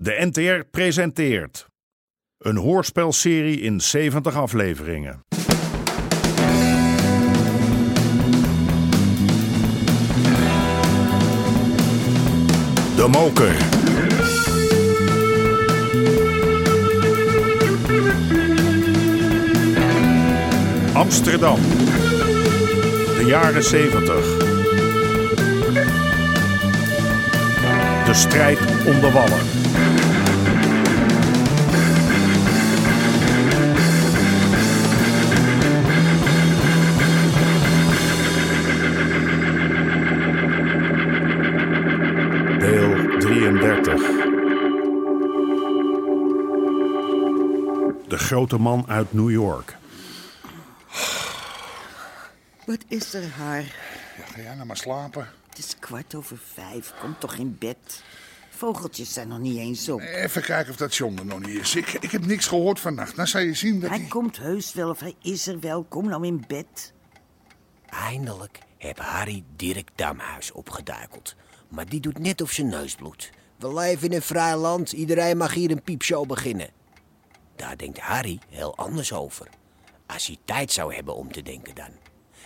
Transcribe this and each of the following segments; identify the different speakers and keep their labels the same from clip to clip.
Speaker 1: De NTR presenteert een hoorspelserie in 70 afleveringen. De Moker. Amsterdam. De jaren 70. De strijd om de wallen. Deel 33. De grote man uit New York.
Speaker 2: Wat is er haar?
Speaker 3: Ja, ga jij nou maar slapen.
Speaker 2: Het is kwart over vijf. Kom toch in bed. Vogeltjes zijn nog niet eens op.
Speaker 3: Even kijken of dat John er nog niet is. Ik, ik heb niks gehoord vannacht. Nou zou je zien dat
Speaker 2: Hij
Speaker 3: hij...
Speaker 2: komt heus wel of hij is er wel. Kom nou in bed.
Speaker 4: Eindelijk heb Harry Dirk Damhuis opgeduikeld. Maar die doet net of zijn neus bloedt. We leven in een vrij land, iedereen mag hier een piepshow beginnen. Daar denkt Harry heel anders over. Als hij tijd zou hebben om te denken dan.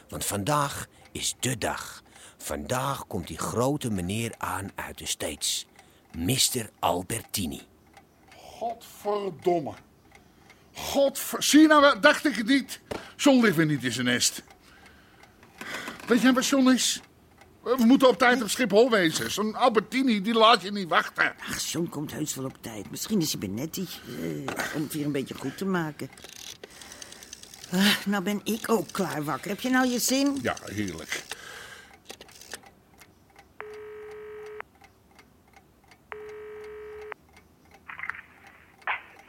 Speaker 4: Want vandaag is de dag. Vandaag komt die grote meneer aan uit de States. Mr. Albertini.
Speaker 3: Godverdomme. Godver... Zie je nou wel? Dacht ik het niet. John ligt weer niet in zijn nest. Weet jij waar John is? We moeten op tijd op Schiphol wezen. Zo'n Albertini, die laat je niet wachten.
Speaker 2: Ach, John komt heus wel op tijd. Misschien is hij bij Nettie. eh, om het weer een beetje goed te maken. Ah, nou ben ik ook klaar wakker. Heb je nou je zin?
Speaker 3: Ja, heerlijk.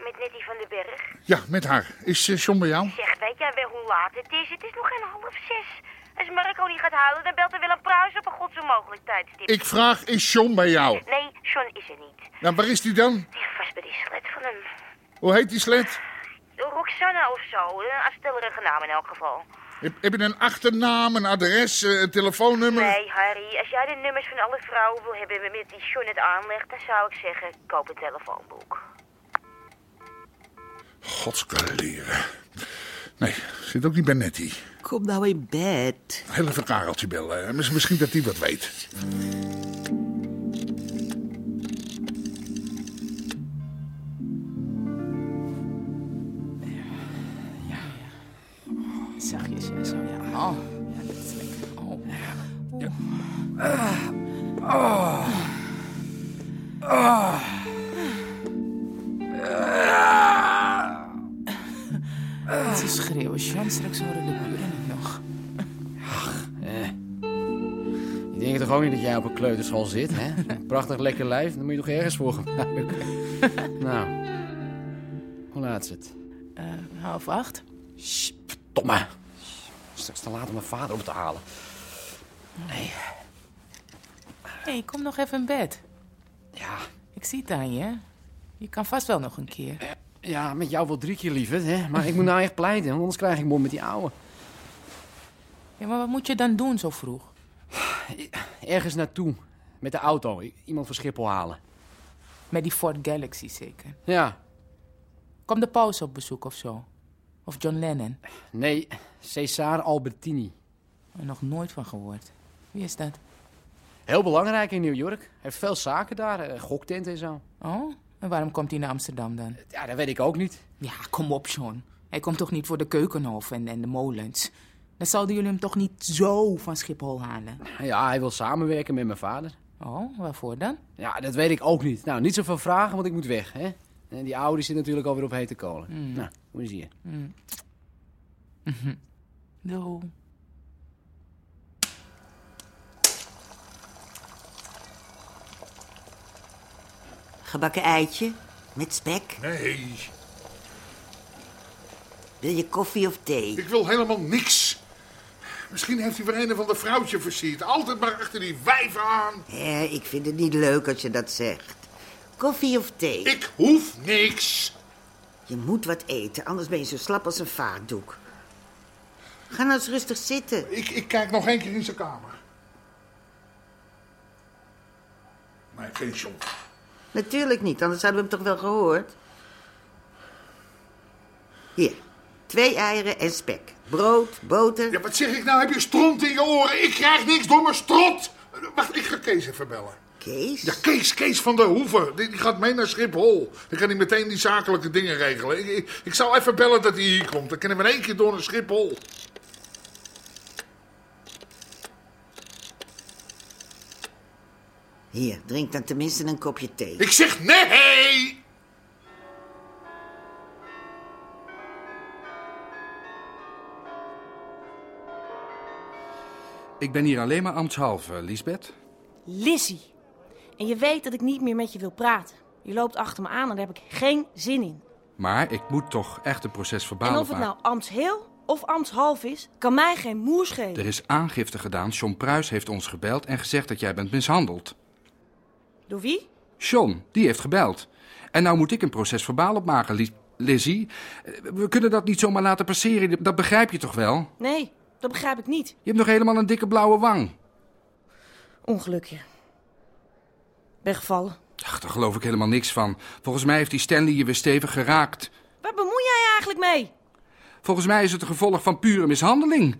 Speaker 5: Met Nettie van den Berg.
Speaker 3: Ja, met haar. Is eh, John bij jou?
Speaker 5: Zeg, weet jij wel hoe laat het is? Het is nog geen half zes. Als Marco niet gaat huilen, dan belt er Willem Pruis op een godso mogelijk tijdstip.
Speaker 3: Ik vraag, is John bij jou?
Speaker 5: Nee, John is er niet.
Speaker 3: Nou, waar is die dan?
Speaker 5: Die is vast bij die slet van hem.
Speaker 3: Hoe heet die slet?
Speaker 5: Roxanne of zo. Een afstellerige naam in elk geval.
Speaker 3: Heb, heb je een achternaam, een adres, eh, een telefoonnummer?
Speaker 5: Nee, Harry, als jij de nummers van alle vrouwen wil hebben met die John het aanlegt, dan zou ik zeggen, koop een telefoonboek.
Speaker 3: Godskaleren. Nee, zit ook niet bij Nettie.
Speaker 2: Kom nou in bed.
Speaker 3: Heel even Kareltje bellen. Miss- Misschien dat hij wat weet.
Speaker 6: Zachtjes en zo, ja. Ja, dat is lekker. Het is schreeuwen, Jean. Straks horen de buren het nog.
Speaker 7: Ik denk toch ook niet dat jij op een kleuterschool zit, hè? Zo'n Prachtig lekker lijf, daar moet je toch ergens voor gebruiken. nou, hoe laat is het?
Speaker 6: Eh, half acht.
Speaker 7: Sst, Verdomme! Straks te laat om mijn vader op te halen.
Speaker 6: Hé, hey, kom nog even in bed.
Speaker 7: Ja,
Speaker 6: Ik zie het aan je. Je kan vast wel nog een keer.
Speaker 7: ja met jou wel drie keer lieverd, hè? Maar ik moet nou echt pleiten, want anders krijg ik mond met die ouwe.
Speaker 6: Ja, maar wat moet je dan doen zo vroeg?
Speaker 7: Ergens naartoe, met de auto, I- iemand van Schiphol halen.
Speaker 6: Met die Ford Galaxy zeker.
Speaker 7: Ja,
Speaker 6: Kom de pauze op bezoek of zo? Of John Lennon?
Speaker 7: nee, Cesar Albertini.
Speaker 6: Er nog nooit van gehoord. Wie is dat?
Speaker 7: Heel belangrijk in New York. Heeft veel zaken daar, eh, goktenten en zo.
Speaker 6: Oh, en waarom komt hij naar Amsterdam dan?
Speaker 7: Ja, dat weet ik ook niet.
Speaker 6: Ja, kom op, John. Hij komt toch niet voor de keukenhof en, en de molens? Dan zouden jullie hem toch niet zo van Schiphol halen?
Speaker 7: Ja, hij wil samenwerken met mijn vader.
Speaker 6: Oh, waarvoor dan?
Speaker 7: Ja, dat weet ik ook niet. Nou, niet zoveel vragen, want ik moet weg, hè? En die oude zit natuurlijk alweer op hete kolen. Nou, hoe is hier?
Speaker 6: Doe.
Speaker 2: Gebakken eitje. Met spek.
Speaker 3: Nee,
Speaker 2: Wil je koffie of thee?
Speaker 3: ik wil helemaal niks. Misschien heeft hij weer een van de vrouwtje versierd. Altijd maar achter die wijven aan.
Speaker 2: Hé, Eh, ik vind het niet leuk als je dat zegt. Koffie of thee?
Speaker 3: Ik hoef niks.
Speaker 2: Je moet wat eten, anders ben je zo slap als een vaatdoek. Ga nou eens rustig zitten.
Speaker 3: Ik, ik kijk nog één keer in zijn kamer. Nee, geen John.
Speaker 2: Natuurlijk niet, anders hadden we hem toch wel gehoord. Hier, twee eieren en spek. Brood, boter.
Speaker 3: Ja, wat zeg ik nou? Heb je stront in je oren? Ik krijg niks door mijn strot. Wacht, ik ga Kees even bellen.
Speaker 2: Kees?
Speaker 3: Ja, Kees, Kees van der Hoeven. Die, die gaat mee naar Schiphol. Dan kan hij meteen die zakelijke dingen regelen. Ik, ik, ik zal even bellen dat hij hier komt. Dan kunnen we in één keer door naar Schiphol.
Speaker 2: Hier, drink dan tenminste een kopje thee.
Speaker 3: Ik zeg nee!
Speaker 8: Ik ben hier alleen maar ambtshalve, eh, Lisbeth.
Speaker 9: Lizzie. En je weet dat ik niet meer met je wil praten. Je loopt achter me aan en daar heb ik geen zin in.
Speaker 8: Maar ik moet toch echt een proces verbaal
Speaker 9: en of het
Speaker 8: maken.
Speaker 9: nou ambtsheel of ambtshalf is, kan mij geen moer
Speaker 8: Er
Speaker 9: schelen.
Speaker 8: is aangifte gedaan. John Pruis heeft ons gebeld en gezegd dat jij bent mishandeld.
Speaker 9: Door wie?
Speaker 8: John, die heeft gebeld. En nou moet ik een proces verbaal opmaken, Lis- Lizzie. Eh, We kunnen dat niet zomaar laten passeren. Dat begrijp je toch wel?
Speaker 9: Nee, dat begrijp ik niet.
Speaker 8: Je hebt nog helemaal een dikke blauwe wang.
Speaker 9: Ongelukje. Ben gevallen.
Speaker 8: Ach, daar geloof ik helemaal niks van. Volgens mij heeft die Stanley je weer stevig geraakt.
Speaker 9: Waar bemoei jij je eigenlijk mee?
Speaker 8: Volgens mij is het een gevolg van pure mishandeling.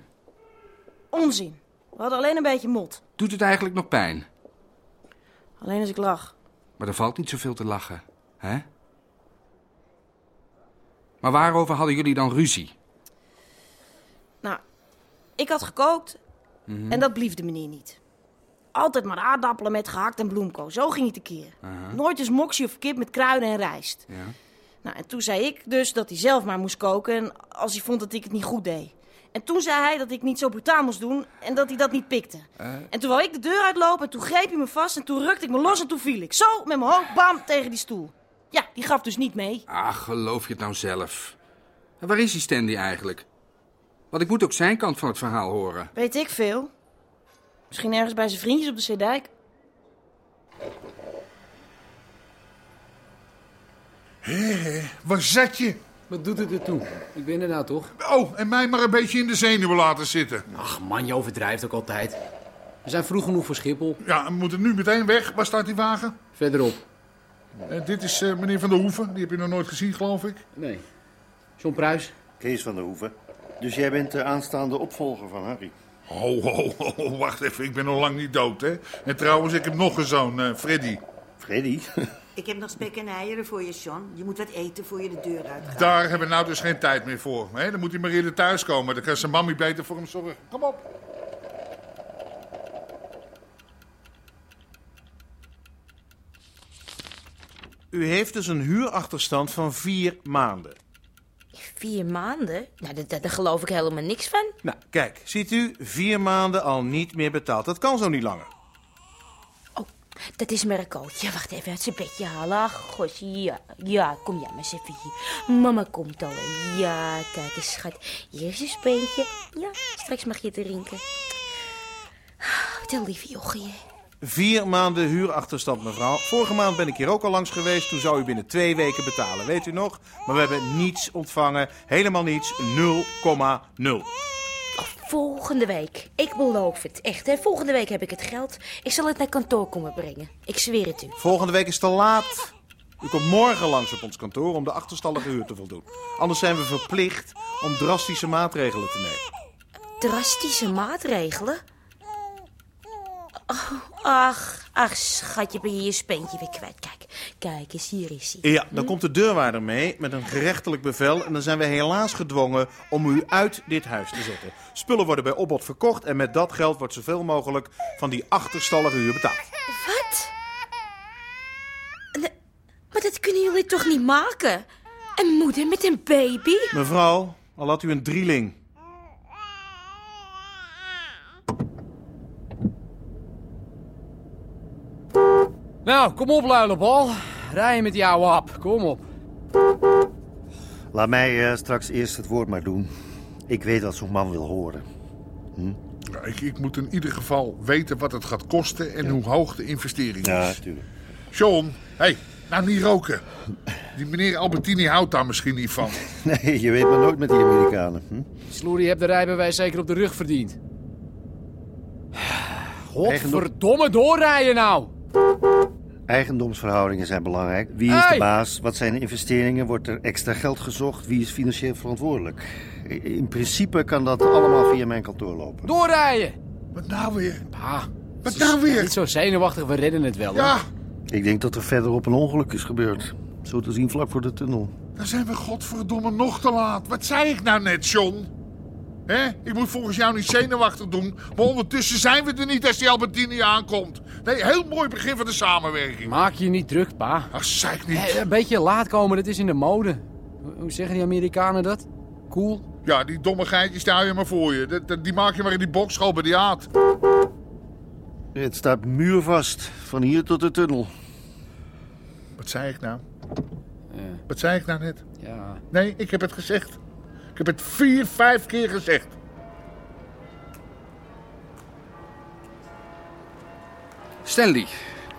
Speaker 9: Onzin. We hadden alleen een beetje mot.
Speaker 8: Doet het eigenlijk nog pijn?
Speaker 9: Alleen als ik lach.
Speaker 8: Maar er valt niet zoveel te lachen, hè? Maar waarover hadden jullie dan ruzie?
Speaker 9: Nou, ik had gekookt en dat bliefde meneer niet. Altijd maar aardappelen met gehakt en bloemkool. Zo ging hij tekeer. Nooit eens moksie of kip met kruiden en rijst.
Speaker 8: Ja.
Speaker 9: Nou, en toen zei ik dus dat hij zelf maar moest koken en als hij vond dat ik het niet goed deed. En toen zei hij dat ik niet zo brutaal moest doen en dat hij dat niet pikte. En toen wou ik de deur uitlopen en toen greep hij me vast en toen rukte ik me los en toen viel ik. Zo, met mijn hoofd, bam, tegen die stoel. Ja, die gaf dus niet mee.
Speaker 8: Ach, geloof je het nou zelf? En waar is die Stanley eigenlijk? Want ik moet ook zijn kant van het verhaal horen.
Speaker 9: Weet ik veel. Misschien ergens bij zijn vriendjes op de Zeedijk.
Speaker 3: Waar zat je?
Speaker 7: Wat doet het ertoe? Ik ben er nou toch?
Speaker 3: Oh, en mij maar een beetje in de zenuwen laten zitten.
Speaker 7: Ach man, je overdrijft ook altijd. We zijn vroeg genoeg voor Schiphol.
Speaker 3: Ja, we moeten nu meteen weg. Waar staat die wagen?
Speaker 7: Verderop.
Speaker 3: Eh, dit is eh, meneer Van der Hoeven. Die heb je nog nooit gezien, geloof ik.
Speaker 7: Nee. John Pruis.
Speaker 10: Kees van der Hoeven. Dus jij bent de aanstaande opvolger van Harry.
Speaker 3: Oh, oh, oh, wacht even. Ik ben nog lang niet dood, hè? En trouwens, ik heb nog een zoon, eh, Freddy.
Speaker 10: Freddy?
Speaker 2: Ik heb nog spek en eieren voor je, Sean. Je moet wat eten voor je de deur uitgaat.
Speaker 3: Daar hebben we nou dus geen tijd meer voor. Hè? Dan moet hij maar eerder thuiskomen. Dan kan zijn mammy beter voor hem zorgen. Kom op.
Speaker 11: U heeft dus een huurachterstand van vier maanden.
Speaker 12: Vier maanden? Nou, dat- dat- daar geloof ik helemaal niks van.
Speaker 11: Nou, kijk, ziet u, vier maanden al niet meer betaald. Dat kan zo niet langer.
Speaker 12: Oh, dat is Mercootje. Wacht even uit zijn bedje halen. Ach, gosh, ja. Ja, kom jij maar eens even hier. Mama komt al. Ja, kijk eens, schat. Hier is je speentje. Ja, straks mag je drinken. Ah, Wat een lief jochie. hè.
Speaker 11: Vier maanden huurachterstand, mevrouw. Vorige maand ben ik hier ook al langs geweest. Toen zou u binnen twee weken betalen, weet u nog? Maar we hebben niets ontvangen. Helemaal niets. 0,0.
Speaker 12: Volgende week. Ik beloof het. Echt, hè. Volgende week heb ik het geld. Ik zal het naar kantoor komen brengen. Ik zweer het u.
Speaker 11: Volgende week is het te laat. U komt morgen langs op ons kantoor om de achterstallige huur te voldoen. Anders zijn we verplicht om drastische maatregelen te nemen.
Speaker 12: Drastische maatregelen? Oh, ach, ach, schatje, ben je je speentje weer kwijt. Kijk, kijk eens, hier is hij.
Speaker 11: Ja, dan komt de deurwaarder mee met een gerechtelijk bevel. En dan zijn we helaas gedwongen om u uit dit huis te zetten. Spullen worden bij opbod verkocht. En met dat geld wordt zoveel mogelijk van die achterstallige huur betaald.
Speaker 12: Wat? Ne- Maar dat kunnen jullie toch niet maken? Een moeder met een baby?
Speaker 11: Mevrouw, al had u een drieling.
Speaker 7: Nou, kom op luilenbal. Rij met die ouwe hap. Kom op.
Speaker 10: Laat mij eh, straks eerst het woord maar doen. Ik weet wat zo'n man wil horen.
Speaker 3: Ja, ik, ik moet in ieder geval weten wat het gaat kosten en hoe hoog de investering
Speaker 10: Ja,
Speaker 3: is.
Speaker 10: natuurlijk.
Speaker 3: John, hé, hey, nou niet roken. Die meneer Albertini houdt daar misschien niet van.
Speaker 10: Nee, je weet maar nooit met die Amerikanen. Hm?
Speaker 7: Sloerie, je hebt de rijbewijs zeker op de rug verdiend. Godverdomme doorrijden nou!
Speaker 10: Eigendomsverhoudingen zijn belangrijk. Wie is de baas? Wat zijn de investeringen? Wordt er extra geld gezocht? Wie is financieel verantwoordelijk? In principe kan dat allemaal via mijn kantoor lopen.
Speaker 7: Doorrijden!
Speaker 3: Wat nou weer?
Speaker 7: Pa.
Speaker 3: Wat nou weer?
Speaker 7: Niet zo zenuwachtig, we redden het wel.
Speaker 3: Ja.
Speaker 10: Ik denk dat er verderop een ongeluk is gebeurd. Zo te zien vlak voor de tunnel.
Speaker 3: Dan zijn we godverdomme nog te laat. Wat zei ik nou net, John? Hè? Ik moet volgens jou niet zenuwachtig doen, maar ondertussen zijn we er niet als die Albertini aankomt. Nee, heel mooi begin van de samenwerking.
Speaker 7: Maak je niet druk, pa. Eh,
Speaker 3: Ach, zeik niet.
Speaker 7: een beetje laat komen, dat is in de mode. Hoe zeggen die Amerikanen dat? Cool.
Speaker 3: Ja, die domme geitjes, die hou je maar voor je. Dat- dat- Die maak je maar in die bokschool bij die aard.
Speaker 10: Het staat muurvast, van hier tot de tunnel.
Speaker 3: Wat zei ik nou? Wat zei ik nou net?
Speaker 7: Ja.
Speaker 3: Nee, ik heb het gezegd. Ik heb het vier, vijf keer gezegd.
Speaker 8: Stanley,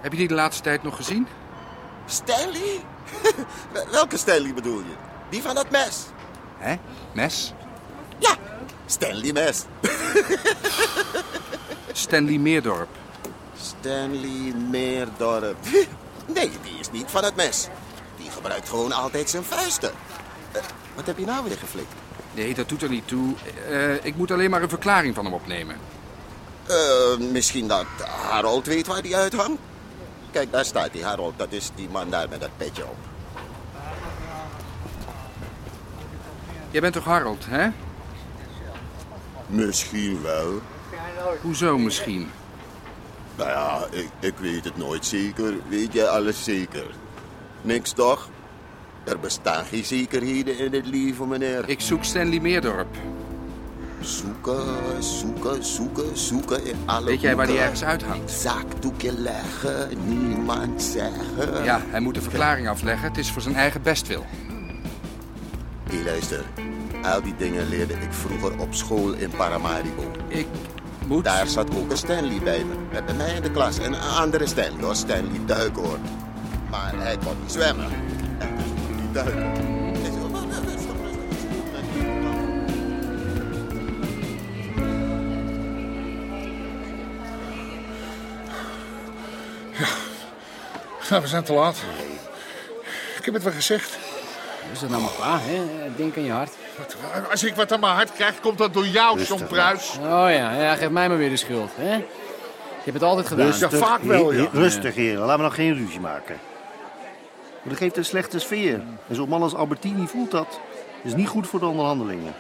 Speaker 8: heb je die de laatste tijd nog gezien?
Speaker 13: Stanley? Welke Stanley bedoel je? Die van dat mes?
Speaker 8: Hè? Mes?
Speaker 13: Ja, Stanley Mes.
Speaker 8: Stanley Meerdorp.
Speaker 13: Stanley Meerdorp. Nee, die is niet van het mes. Die gebruikt gewoon altijd zijn vuisten. Eh, wat heb je nou weer geflikt?
Speaker 8: Nee, dat doet er niet toe. Eh, ik moet alleen maar een verklaring van hem opnemen.
Speaker 13: Eh, misschien dat Harold weet waar die uithangt? Kijk, daar staat die Harold. Dat is die man daar met dat petje op.
Speaker 8: Jij bent toch Harold, hè?
Speaker 13: Misschien wel.
Speaker 8: Hoezo misschien?
Speaker 13: Nou ja, ik, ik weet het nooit zeker. Weet jij alles zeker? Niks toch? Er bestaan geen zekerheden in het leven, meneer.
Speaker 8: Ik zoek Stanley Meerdorp.
Speaker 13: Zoeken, zoeken, zoeken, zoeken in alle
Speaker 8: Weet jij waar die
Speaker 13: hoeken.
Speaker 8: ergens uithangt?
Speaker 13: Zakdoekje leggen, niemand zeggen.
Speaker 8: Ja, hij moet een verklaring afleggen. Het is voor zijn eigen bestwil.
Speaker 13: Hé, luister. Al die dingen leerde ik vroeger op school in Paramaribo.
Speaker 8: Ik moet...
Speaker 13: Daar zat ook een Stanley bij me. Met bij mij in de klas. En een andere Stanley hoor. Stanley Duikhoorn. Maar hij kon niet zwemmen. En dus kon hij niet duiken. Hij zei, "Oh, dat is toch rustig, dat is goed." En toen kwam-
Speaker 3: Nou, we zijn te laat. Ik heb het wel gezegd.
Speaker 7: Is dat nou maar pa, hè? Denk aan je hart.
Speaker 3: Als ik wat aan mijn hart krijg, komt dat door jou, John Pruis.
Speaker 7: Oh ja, ja, geef mij maar weer de schuld, hè? Je hebt het altijd gedaan.
Speaker 10: Rustig, heer- Rustig, heren. Laten we nog geen ruzie maken. Maar dat geeft een slechte sfeer. En zo'n man als Albertini voelt dat. Dat is niet goed voor de onderhandelingen.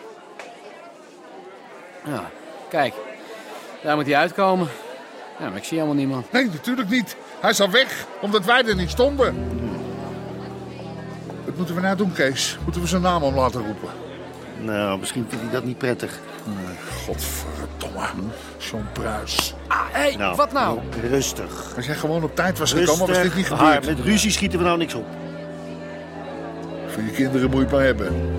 Speaker 7: Ja, kijk. Daar moet hij uitkomen. Ja, maar ik zie helemaal niemand.
Speaker 3: Nee, natuurlijk niet. Hij is al weg, omdat wij er niet stonden. Wat moeten we nou doen, Kees? Moeten we zijn naam om laten roepen?
Speaker 10: Nou, misschien vindt hij dat niet prettig.
Speaker 3: Godverdomme. John Pruis.
Speaker 7: Ah, hé, wat nou?
Speaker 10: Rustig.
Speaker 3: Als jij gewoon op tijd was
Speaker 10: Rustig,
Speaker 3: gekomen, was dit niet
Speaker 10: Harm.
Speaker 3: gebeurd.
Speaker 10: Met ruzie schieten we nou niks op.
Speaker 3: Voor je kinderen moet je het maar hebben.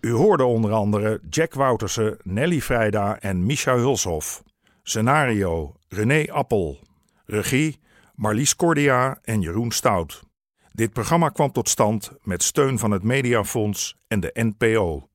Speaker 1: U hoorde onder andere Jack Woutersen, Nelly Vrijda en Micha Hulshof. Scenario René Appel. Regie Marlies Cordia en Jeroen Stout. Dit programma kwam tot stand met steun van het Mediafonds en de NPO.